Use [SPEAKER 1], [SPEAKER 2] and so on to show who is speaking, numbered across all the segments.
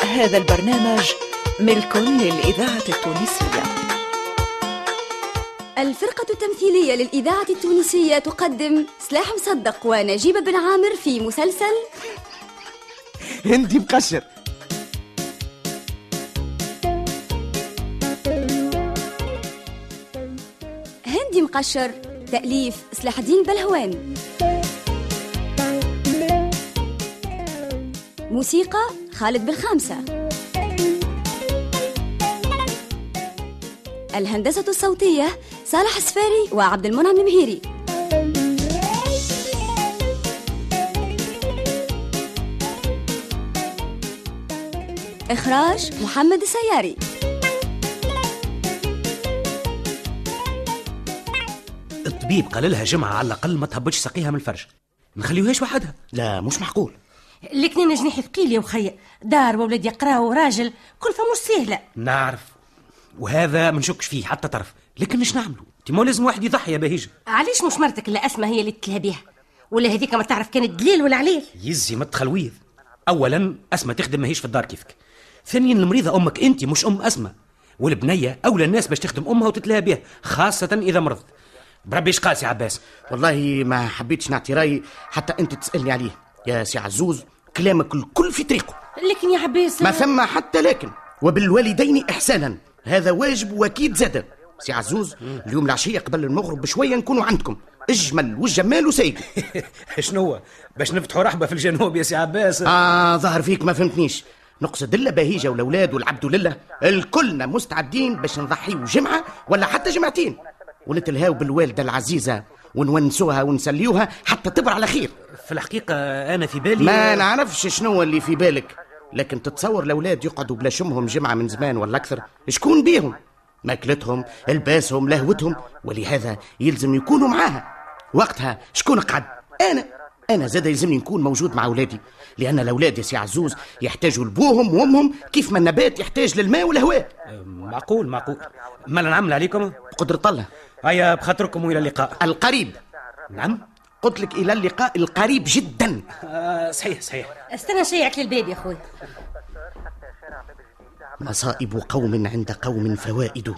[SPEAKER 1] هذا البرنامج ملك للإذاعة التونسية
[SPEAKER 2] الفرقة التمثيلية للإذاعة التونسية تقدم سلاح مصدق ونجيب بن عامر في مسلسل
[SPEAKER 3] هندي مقشر
[SPEAKER 2] هندي مقشر تأليف سلاح الدين بلهوان موسيقى خالد بالخامسة الهندسة الصوتية صالح السفاري وعبد المنعم المهيري إخراج محمد السياري
[SPEAKER 4] الطبيب قال لها جمعة على الأقل ما تهبطش ساقيها من الفرش نخليوهاش وحدها
[SPEAKER 3] لا مش معقول
[SPEAKER 5] الاثنين جنيح ثقيل يا وخي دار وولاد يقراو وراجل كل مش سهله
[SPEAKER 4] نعرف وهذا ما نشكش فيه حتى طرف لكن مش نعملو تيمو لازم واحد يضحي يا بهيج
[SPEAKER 5] علاش مش مرتك اللي اسمها هي اللي تتلهى بيها ولا هذيك ما تعرف كانت دليل ولا عليل
[SPEAKER 4] يزي ما تخلويذ أولا أسمى تخدم ماهيش في الدار كيفك ثانيا المريضة أمك أنت مش أم أسمى والبنية أولى الناس باش تخدم أمها وتتلهى بها خاصة إذا مرضت بربي إيش قاس يا عباس
[SPEAKER 3] والله ما حبيتش نعطي رايي حتى انت تسالني عليه يا سي عزوز كلامك الكل في طريقه
[SPEAKER 5] لكن يا عباس
[SPEAKER 3] ما ثم حتى لكن وبالوالدين احسانا هذا واجب واكيد زاد سي عزوز اليوم العشيه قبل المغرب بشويه نكونوا عندكم اجمل والجمال وسيد
[SPEAKER 4] شنو باش نفتحوا رحبة في الجنوب يا سي عباس
[SPEAKER 3] اه ظهر فيك ما فهمتنيش نقصد الا بهيجه والاولاد والعبد لله الكلنا مستعدين باش نضحيو جمعه ولا حتى جمعتين ونتلهاو بالوالده العزيزه ونونسوها ونسليوها حتى تبر على خير
[SPEAKER 4] في الحقيقة أنا في بالي
[SPEAKER 3] ما نعرفش شنو اللي في بالك لكن تتصور الاولاد يقعدوا بلا شمهم جمعه من زمان ولا اكثر شكون بيهم ماكلتهم لباسهم لهوتهم ولهذا يلزم يكونوا معاها وقتها شكون قعد انا انا زاد يلزمني نكون موجود مع اولادي لان الاولاد يا سي عزوز يحتاجوا لبوهم وامهم كيف ما النبات يحتاج للماء والهواء
[SPEAKER 4] معقول معقول ما نعمل عليكم
[SPEAKER 3] بقدرة الله
[SPEAKER 4] هيا بخاطركم وإلى اللقاء
[SPEAKER 3] القريب
[SPEAKER 4] نعم
[SPEAKER 3] قلت لك الى اللقاء القريب جدا
[SPEAKER 4] آه صحيح صحيح
[SPEAKER 5] استنى نشيعك للباب يا خويا
[SPEAKER 3] مصائب قوم عند قوم فوائد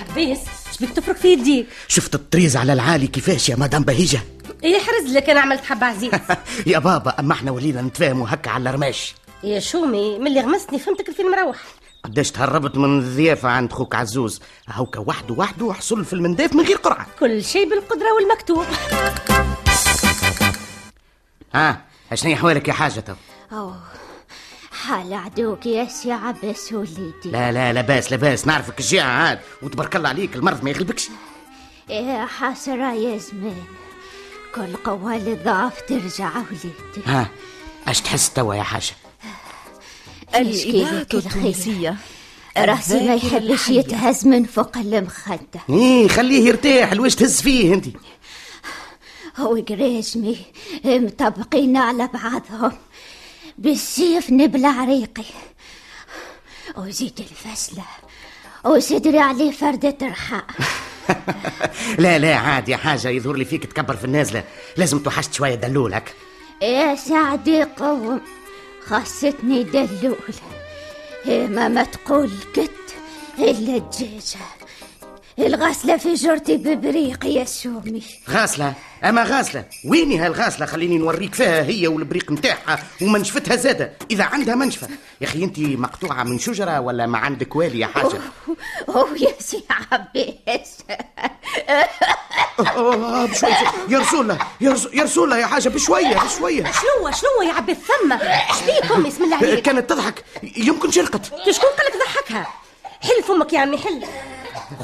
[SPEAKER 5] عباس شبيك تفرك في يديك
[SPEAKER 3] شفت الطريز على العالي كيفاش يا مدام بهيجه
[SPEAKER 5] ايه حرز لك انا عملت حب عزيز
[SPEAKER 3] يا بابا اما احنا ولينا نتفاهموا هكا على الرماش
[SPEAKER 5] يا شومي ملي غمستني فهمتك الفين مروح
[SPEAKER 3] قداش تهربت من الضيافة عند خوك عزوز هاوكا وحده وحده حصل في المنداف من غير قرعة
[SPEAKER 5] كل شيء بالقدره والمكتوب
[SPEAKER 3] ها شنو حوالك يا حاجة تو
[SPEAKER 6] أوه حال عدوك يا سي عباس وليدي
[SPEAKER 3] لا لا لاباس لاباس نعرفك الجيعة عاد وتبارك الله عليك المرض ما يغلبكش
[SPEAKER 6] يا حسرة يا زمان إيه كل قوة للضعف ترجع وليدي
[SPEAKER 3] ها اش تحس توا يا حاجة
[SPEAKER 1] الإذاعة
[SPEAKER 6] يشكيلك
[SPEAKER 1] التونسية
[SPEAKER 6] راسي ما
[SPEAKER 1] الذاكرة
[SPEAKER 6] يحبش
[SPEAKER 1] الحية.
[SPEAKER 6] يتهز من فوق المخدة
[SPEAKER 3] ايه خليه يرتاح الواش تهز فيه انت
[SPEAKER 6] وقريشمي مطبقين على بعضهم بالسيف نبلع ريقي وزيد الفسلة وصدري عليه فردة رخاء
[SPEAKER 3] لا لا عادي يا حاجة يظهر لي فيك تكبر في النازلة لازم توحشت شوية دلولك
[SPEAKER 6] يا سعدي قوم خاصتني دلول ما ما تقول كت إلا الدجاجة الغسلة في جرتي ببريق يا سومي
[SPEAKER 3] غاسلة أما غاسلة ويني هالغاسلة خليني نوريك فيها هي والبريق متاعها ومنشفتها زادة إذا عندها منشفة يا أخي أنت مقطوعة من شجرة ولا ما عندك والي يا حاجة
[SPEAKER 6] أوه يا سي عباس
[SPEAKER 3] آه، آه، آه، بشوية يا رسول الله يا رسول- يا رسول الله يا حاجة بشوية بشوية
[SPEAKER 5] شنو شنو يا عباس ثم شبيك امي بسم الله
[SPEAKER 3] آه،
[SPEAKER 5] عليك
[SPEAKER 3] كانت تضحك يمكن شرقت
[SPEAKER 5] شكون قال لك ضحكها حل فمك يا عمي حل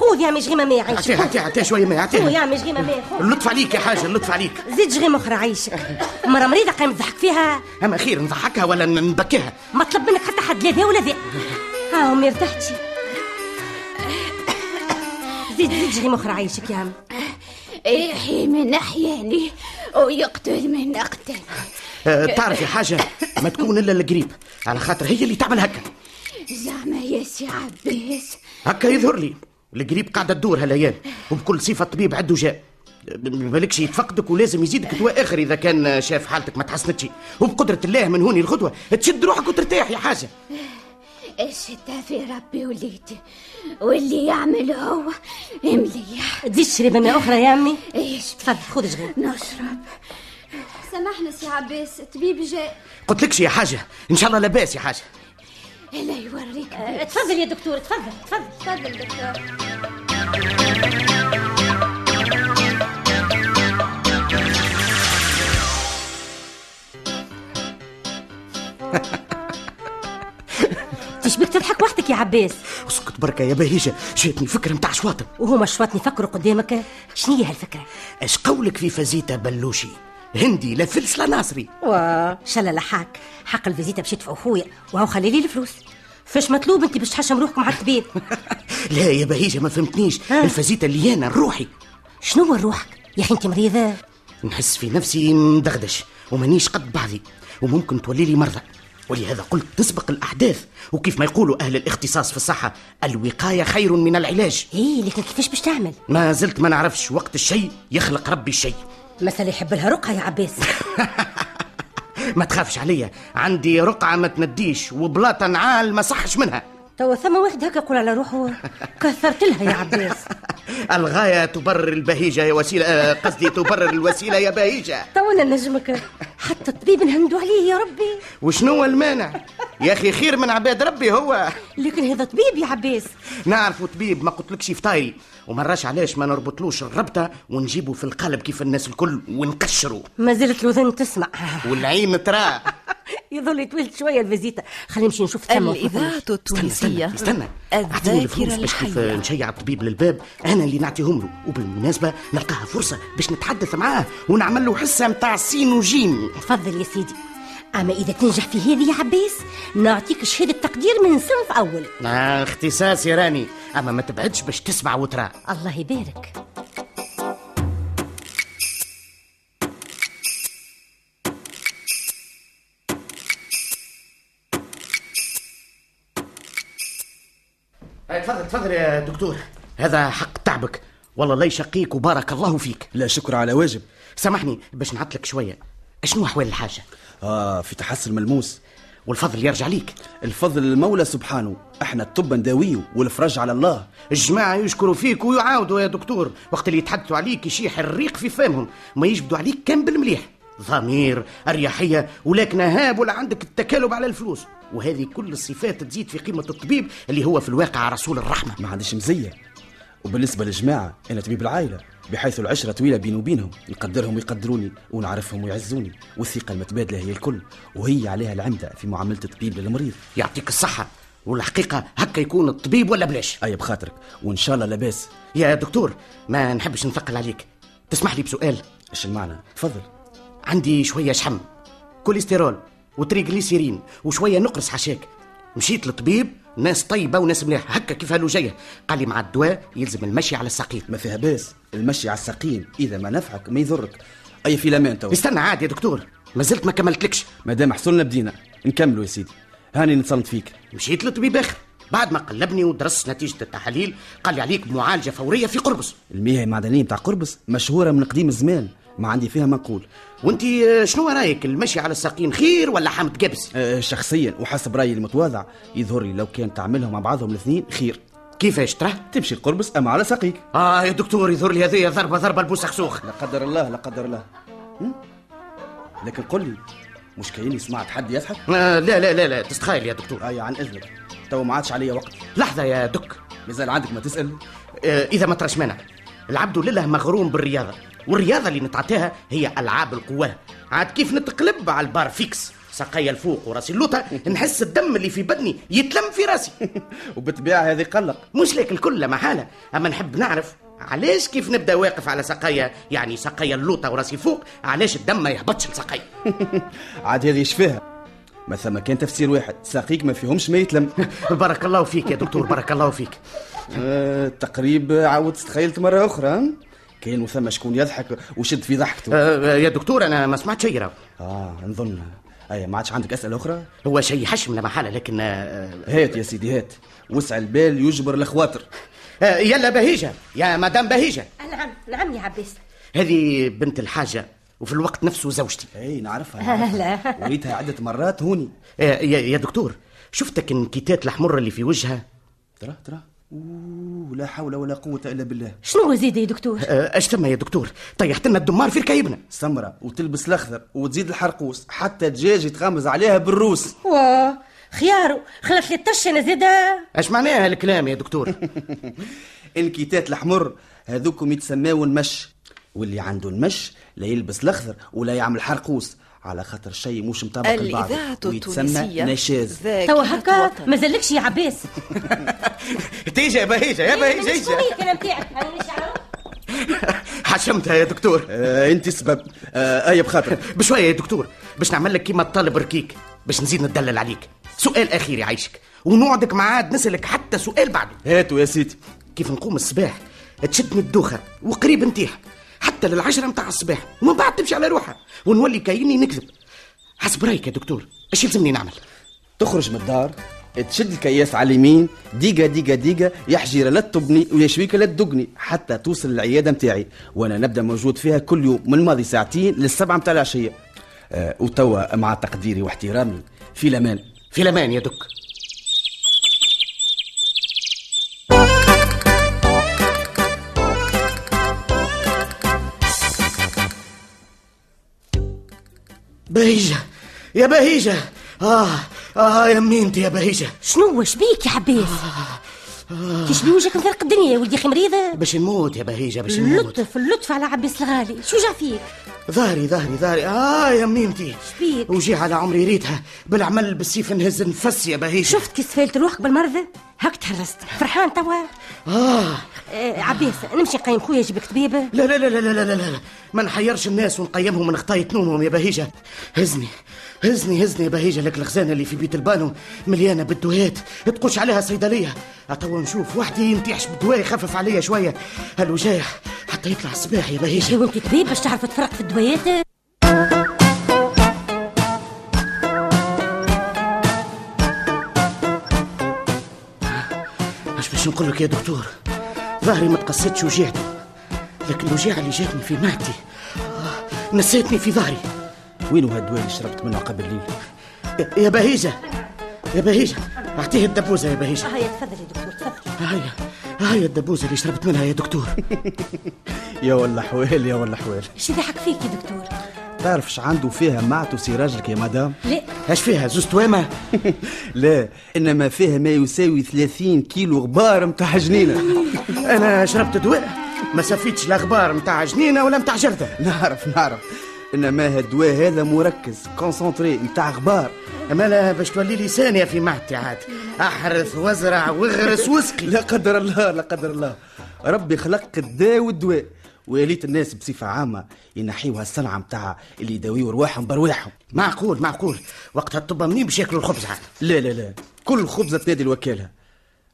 [SPEAKER 5] خذ يا عمي شغيمه ماء
[SPEAKER 3] أعطيها
[SPEAKER 5] عيشك
[SPEAKER 3] أعطيها أعطيها شوية ما
[SPEAKER 5] خذ يا
[SPEAKER 3] أعطيها
[SPEAKER 5] عمي شغيمه ماء خذ
[SPEAKER 3] اللطف عليك يا حاجة اللطف عليك
[SPEAKER 5] زيد شغيمه اخرى عيشك مره مريضه قايم تضحك فيها
[SPEAKER 3] أما خير نضحكها ولا نبكيها
[SPEAKER 5] ما طلب منك حتى حد لا ذا ولا ذا ها امي ارتحتي زيد زيد شغيمه اخرى عيشك يا عمي
[SPEAKER 6] يحيي من أحياني ويقتل من أقتل
[SPEAKER 3] آه، تعرفي حاجه ما تكون الا القريب على خاطر هي اللي تعمل هكا
[SPEAKER 6] زعما يا سي عباس
[SPEAKER 3] هكا يظهر لي القريب قاعده تدور هالايام وبكل صفه طبيب عنده جاء ما بالكش يتفقدك ولازم يزيدك دواء اخر اذا كان شاف حالتك ما تحسنتش وبقدره الله من هوني الغدوه تشد روحك وترتاح يا حاجه
[SPEAKER 6] الشتا في ربي وليدي واللي يعمل هو مليح
[SPEAKER 5] تزيد تشرب ماء اخرى يا امي
[SPEAKER 6] ايش
[SPEAKER 5] تفضل خذ شغل
[SPEAKER 6] نشرب
[SPEAKER 2] سامحنا سي عباس الطبيب جاء
[SPEAKER 3] قلت لكش يا حاجه ان شاء الله لاباس يا حاجه
[SPEAKER 6] لا يوريك
[SPEAKER 5] تفضل يا دكتور تفضل تفضل
[SPEAKER 2] آه، تفضل دكتور
[SPEAKER 5] تشبك تضحك وحدك يا عباس
[SPEAKER 3] اسكت بركه يا بهيجه جاتني فكره متاع شواطم
[SPEAKER 5] وهما شوات يفكروا قدامك شنو هي هالفكره
[SPEAKER 3] اش قولك في فازيتا بلوشي هندي لا فلس لا ناصري
[SPEAKER 5] وا شلا لحاك حق الفيزيتا باش يدفعوا خويا وهو خلي لي الفلوس فاش مطلوب انت باش تحشم روحك مع الطبيب
[SPEAKER 3] لا يا بهيجه ما فهمتنيش
[SPEAKER 5] ها؟
[SPEAKER 3] الفازيتا اللي انا روحي
[SPEAKER 5] شنو هو روحك يا اخي انت مريضه
[SPEAKER 3] نحس في نفسي مدغدش ومانيش قد بعضي وممكن تولي لي مرضى ولهذا قلت تسبق الاحداث وكيف ما يقولوا اهل الاختصاص في الصحه الوقايه خير من العلاج
[SPEAKER 5] ايه لكن كيفاش باش تعمل
[SPEAKER 3] ما زلت ما نعرفش وقت الشيء يخلق ربي الشيء
[SPEAKER 5] مثلا يحب لها رقعه يا عباس
[SPEAKER 3] ما تخافش عليا عندي رقعه ما تنديش وبلاطه نعال ما صحش منها
[SPEAKER 5] توا ثم واحد هكا يقول على روحه كثرت لها يا عباس
[SPEAKER 3] الغايه تبرر البهيجه يا وسيله آه، قصدي تبرر الوسيله يا بهيجه
[SPEAKER 5] تونا نجمك حتى الطبيب نهمدوا عليه يا ربي
[SPEAKER 3] وشنو المانع يا اخي خير من عباد ربي هو
[SPEAKER 5] لكن هذا طبيب يا عباس
[SPEAKER 3] نعرفه طبيب ما قلتلكش فطايري ومراش علاش ما نربطلوش الربطه ونجيبه في القالب كيف الناس الكل ونكشره
[SPEAKER 5] ما زالت الوذن تسمع
[SPEAKER 3] والعين تراه
[SPEAKER 5] يظل يطول شويه الفيزيتا خلينا نمشي نشوف ثم
[SPEAKER 1] الإذاعة
[SPEAKER 3] استنى استنى
[SPEAKER 1] التونسية
[SPEAKER 3] استنى اعطيني
[SPEAKER 1] الذاكرة
[SPEAKER 3] الفلوس باش كيف
[SPEAKER 1] الحية
[SPEAKER 3] نشيع الطبيب للباب انا اللي نعطيهم له وبالمناسبه نلقاها فرصه باش نتحدث معاه ونعمل له حصه متاع سين وجيم
[SPEAKER 5] تفضل يا سيدي اما اذا تنجح في هذه يا عباس نعطيك شهاده تقدير من صنف اول
[SPEAKER 3] آه، اختصاصي راني اما ما تبعدش باش تسمع وترى
[SPEAKER 5] الله يبارك
[SPEAKER 3] آه، تفضل تفضل يا دكتور هذا حق تعبك والله لا يشقيك وبارك الله فيك
[SPEAKER 7] لا شكر على واجب
[SPEAKER 3] سامحني باش نعطلك شويه شنو احوال الحاجه
[SPEAKER 7] اه في تحسن ملموس
[SPEAKER 3] والفضل يرجع ليك
[SPEAKER 7] الفضل المولى سبحانه احنا الطب نداويه والفرج على الله
[SPEAKER 3] الجماعة يشكروا فيك ويعاودوا يا دكتور وقت اللي يتحدثوا عليك يشيح الريق في فمهم ما يجبدوا عليك كان بالمليح ضمير أريحية ولكن هاب ولا عندك التكالب على الفلوس وهذه كل الصفات تزيد في قيمة الطبيب اللي هو في الواقع رسول الرحمة
[SPEAKER 7] ما عنديش مزيه وبالنسبه للجماعه انا طبيب العائله بحيث العشره طويله بيني وبينهم نقدرهم ويقدروني ونعرفهم ويعزوني والثقه المتبادله هي الكل وهي عليها العمده في معامله الطبيب للمريض
[SPEAKER 3] يعطيك الصحة والحقيقة هكا يكون الطبيب ولا بلاش
[SPEAKER 7] اي بخاطرك وان شاء الله لاباس
[SPEAKER 3] يا دكتور ما نحبش نثقل عليك تسمح لي بسؤال
[SPEAKER 7] ايش المعنى تفضل
[SPEAKER 3] عندي شوية شحم كوليسترول وتريغليسيرين وشوية نقرس حشاك مشيت للطبيب ناس طيبة وناس ملاح هكا كيف هالو جاية قال لي مع الدواء يلزم المشي على الساقين
[SPEAKER 7] ما فيها باس المشي على الساقين اذا ما نفعك ما يضرك اي في لامان تو
[SPEAKER 3] استنى عادي يا دكتور ما زلت ما كملتلكش
[SPEAKER 7] ما دام حصلنا بدينا نكملوا يا سيدي هاني نتصلت فيك
[SPEAKER 3] مشيت للطبيب آخر بعد ما قلبني ودرس نتيجة التحاليل قال لي عليك معالجة فورية في قربص
[SPEAKER 7] المياه المعدنيه بتاع قربص مشهوره من قديم الزمان ما عندي فيها ما نقول
[SPEAKER 3] وانت آه، شنو رايك المشي على الساقين خير ولا حامد جبس
[SPEAKER 7] أه، شخصيا وحسب رايي المتواضع يظهر لي لو كان تعملهم مع بعضهم الاثنين خير
[SPEAKER 3] كيفاش تراه
[SPEAKER 7] تمشي القربص اما على ساقيك
[SPEAKER 3] اه يا دكتور يظهر لي هذه ضربة ضربة البوسخسوخ
[SPEAKER 7] لا قدر الله لا قدر الله هم؟ لكن قل لي مش كايني سمعت حد يضحك
[SPEAKER 3] آه لا لا لا لا تستخيل يا دكتور
[SPEAKER 7] اي عن اذنك تو ما عادش عليا وقت
[SPEAKER 3] لحظة يا دك
[SPEAKER 7] مازال عندك ما تسال
[SPEAKER 3] آه، اذا ما تراش مانع العبد لله مغروم بالرياضه والرياضه اللي نتعطيها هي العاب القوه عاد كيف نتقلب على البار فيكس ساقيا الفوق وراسي اللوطه نحس الدم اللي في بدني يتلم في راسي
[SPEAKER 7] وبالطبيعه هذه قلق
[SPEAKER 3] مش لك الكل لا محاله اما نحب نعرف علاش كيف نبدا واقف على ساقيا يعني ساقيا اللوطه وراسي فوق علاش الدم ما يهبطش لساقيا
[SPEAKER 7] عاد هذه يشفيها ما ثم كان تفسير واحد ساقيك ما فيهمش ما يتلم
[SPEAKER 3] بارك الله فيك يا دكتور بارك الله فيك
[SPEAKER 7] آه، تقريب عاودت تخيلت مره اخرى هم؟ كان وثم شكون يضحك وشد في ضحكته
[SPEAKER 3] آه، آه، يا دكتور انا ما سمعت شيء راهو.
[SPEAKER 7] اه نظن اي ما عادش عندك اسئله اخرى
[SPEAKER 3] هو شيء حشم لا محاله لكن آه،
[SPEAKER 7] هات يا سيدي هات وسع البال يجبر الخواطر
[SPEAKER 3] آه، يلا بهيجه يا مدام بهيجه
[SPEAKER 5] نعم نعم يا عباس
[SPEAKER 3] هذه بنت الحاجه وفي الوقت نفسه زوجتي
[SPEAKER 7] اي نعرفها, نعرفها. وريتها عده مرات هوني
[SPEAKER 3] آه، يا يا دكتور شفتك النكيتات الحمر اللي في وجهها
[SPEAKER 7] ترى ترى أوه، لا حول ولا قوه الا بالله
[SPEAKER 5] شنو زيد يا دكتور
[SPEAKER 3] آه، اش ثم يا دكتور طيحت لنا الدمار في ركايبنا
[SPEAKER 7] سمرة وتلبس الاخضر وتزيد الحرقوس حتى دجاج يتغمز عليها بالروس
[SPEAKER 5] واه خيارو خلت لي الطش انا زيدا
[SPEAKER 3] اش معناها الكلام يا دكتور
[SPEAKER 7] الكيتات الحمر هذوكم يتسماو المش واللي عنده المش لا يلبس الاخضر ولا يعمل حرقوس على خاطر شيء مش مطابق لبعض
[SPEAKER 1] الإذاعة
[SPEAKER 7] ويتسمى
[SPEAKER 1] التونسية
[SPEAKER 7] نشاز
[SPEAKER 1] ذاكرة
[SPEAKER 5] توا هكا
[SPEAKER 1] وطن.
[SPEAKER 5] مازلكش يا عباس
[SPEAKER 3] تيجي يا بهيجه يا
[SPEAKER 5] إيه، مش قوية انا نتاعك انا مش عارف
[SPEAKER 3] حشمتها يا دكتور
[SPEAKER 7] آه انت سبب آه اي بخاطر
[SPEAKER 3] بشويه يا دكتور باش نعمل لك كيما الطالب ركيك باش نزيد ندلل عليك سؤال اخير يعيشك ونوعدك معاد نسالك حتى سؤال بعده
[SPEAKER 7] هاتوا يا سيدي
[SPEAKER 3] كيف نقوم الصباح تشدني الدوخه وقريب نطيح حتى للعشرة متاع الصباح ومن بعد تمشي على روحها ونولي كايني نكذب حسب رايك يا دكتور اش يلزمني نعمل
[SPEAKER 7] تخرج من الدار تشد الكياس على اليمين ديقة ديقة ديقة يا حجيرة لا تطبني ويا شويكة لا تدقني حتى توصل للعيادة متاعي وأنا نبدأ موجود فيها كل يوم من ماضي ساعتين للسبعة متاع العشية آه وتوا مع تقديري واحترامي في الأمان
[SPEAKER 3] في الامان يا دك بهيجة يا بهيجة آه آه يا ميمتي يا بهيجة
[SPEAKER 5] شنو واش بيك يا عباس كيش بوجهك مفرق الدنيا يا ولدي خي مريضه
[SPEAKER 3] باش نموت يا بهيجة باش نموت
[SPEAKER 5] اللطف اللطف على عباس الغالي شو جا فيك
[SPEAKER 3] ظهري ظهري ظهري آه يا ميمتي
[SPEAKER 5] بيك؟
[SPEAKER 3] وجي على عمري ريتها بالعمل بالسيف نهز نفس يا بهيجة
[SPEAKER 5] شفت كي سفلت روحك بالمرضى هاك تهرست فرحان توا
[SPEAKER 3] آه
[SPEAKER 5] آه عباس نمشي نقيم خويا جبك طبيبه
[SPEAKER 3] لا لا لا لا لا لا لا لا ما نحيرش الناس ونقيمهم من خطايا نومهم يا بهيجة هزني هزني هزني يا بهيجة لك الخزانة اللي في بيت البانو مليانة بالدويات تقوش عليها صيدلية أتوا نشوف وحدي ينتيحش بالدواء يخفف عليا شوية الوجاح حتى يطلع الصباح يا بهيجة
[SPEAKER 5] شو انت طبيب باش تعرف تفرق في الدويات
[SPEAKER 3] اش باش نقول لك يا دكتور ظهري ما تقصتش وجعته لكن الوجيعة اللي جاتني في معدتي آه، نسيتني في ظهري
[SPEAKER 7] وينو هالدواء اللي شربت منه قبل ليلة
[SPEAKER 3] يا- يا بهيجة يا بهيجة أعطيه الدبوزة يا بهيجة
[SPEAKER 5] هيا تفضل يا دكتور تفضل
[SPEAKER 3] هيا هيا الدبوزة اللي شربت منها يا دكتور
[SPEAKER 7] يا ولا حوال يا ولا حوال
[SPEAKER 5] اش يضحك فيك يا دكتور
[SPEAKER 7] تعرفش عنده فيها معتو سراجك يا مدام
[SPEAKER 5] لا
[SPEAKER 3] اش فيها زوز توامة
[SPEAKER 7] لا إنما فيها ما يساوي 30 كيلو غبار متاع جنينة
[SPEAKER 3] انا شربت دواء ما سفيتش لا غبار متاع جنينه ولا متاع جرده
[SPEAKER 7] نعرف نعرف انما هالدواء هذا مركز كونسونتري نتاع غبار
[SPEAKER 3] اما لا باش تولي لي ثانيه في معدتي عاد احرث وازرع واغرس واسقي
[SPEAKER 7] لا قدر الله لا قدر الله ربي خلق الداء والدواء وليت الناس بصفة عامة ينحيوها الصنعة متاع اللي يداويو رواحهم برواحهم
[SPEAKER 3] معقول معقول وقتها الطب منين باش ياكلوا الخبز عاد
[SPEAKER 7] لا لا لا كل خبزة تنادي الوكالة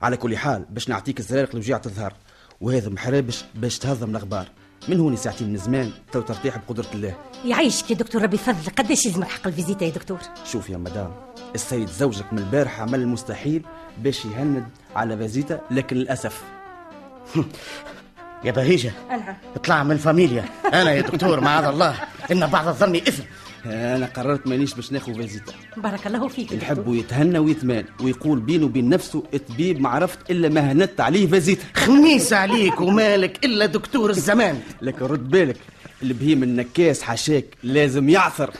[SPEAKER 7] على كل حال باش نعطيك الزرارق لوجيعة الظهر وهذا محرابش باش تهضم الغبار من هوني ساعتين من زمان تو ترتاح بقدرة الله
[SPEAKER 5] يعيشك يا دكتور ربي يفضلك قداش يلزمك حق الفيزيتا يا دكتور
[SPEAKER 7] شوف يا مدام السيد زوجك من البارح عمل المستحيل باش يهند على بازيتا لكن للأسف
[SPEAKER 3] يا بهيجه
[SPEAKER 5] نعم
[SPEAKER 3] اطلع من الفاميليا انا يا دكتور معاذ الله ان بعض الظن اثم
[SPEAKER 7] انا قررت مانيش باش ناخذ فيزيتا
[SPEAKER 5] بارك الله فيك يا دكتور.
[SPEAKER 7] يحب يتهنى ويتمان ويقول بينه وبين نفسه الطبيب ما عرفت الا ما هندت عليه فيزيتا
[SPEAKER 3] خميس عليك ومالك الا دكتور الزمان
[SPEAKER 7] لكن رد بالك البهيم النكاس حشاك لازم يعثر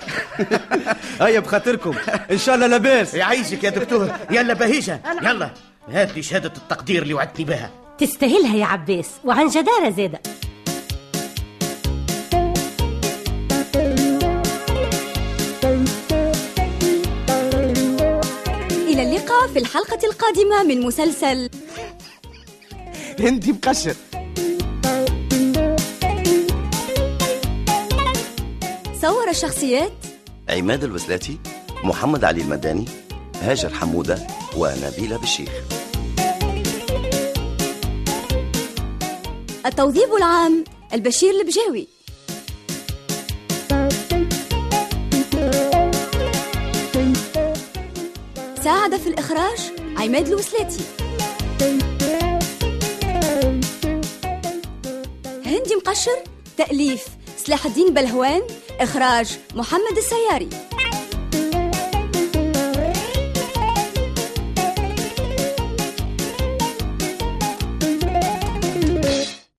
[SPEAKER 7] هيا بخاطركم ان شاء الله لاباس
[SPEAKER 3] يعيشك يا دكتور يلا بهيجه يلا هات لي شهاده التقدير اللي وعدتني بها
[SPEAKER 5] تستاهلها يا عباس وعن جدارة زادة
[SPEAKER 2] إلى اللقاء في الحلقة القادمة من مسلسل
[SPEAKER 7] هندي مقشر
[SPEAKER 2] صور الشخصيات
[SPEAKER 8] عماد الوزلاتي محمد علي المداني هاجر حمودة ونبيلة بالشيخ
[SPEAKER 2] التوظيف العام البشير البجاوي ساعد في الإخراج عماد الوسلاتي هندي مقشر تأليف سلاح الدين بلهوان إخراج محمد السياري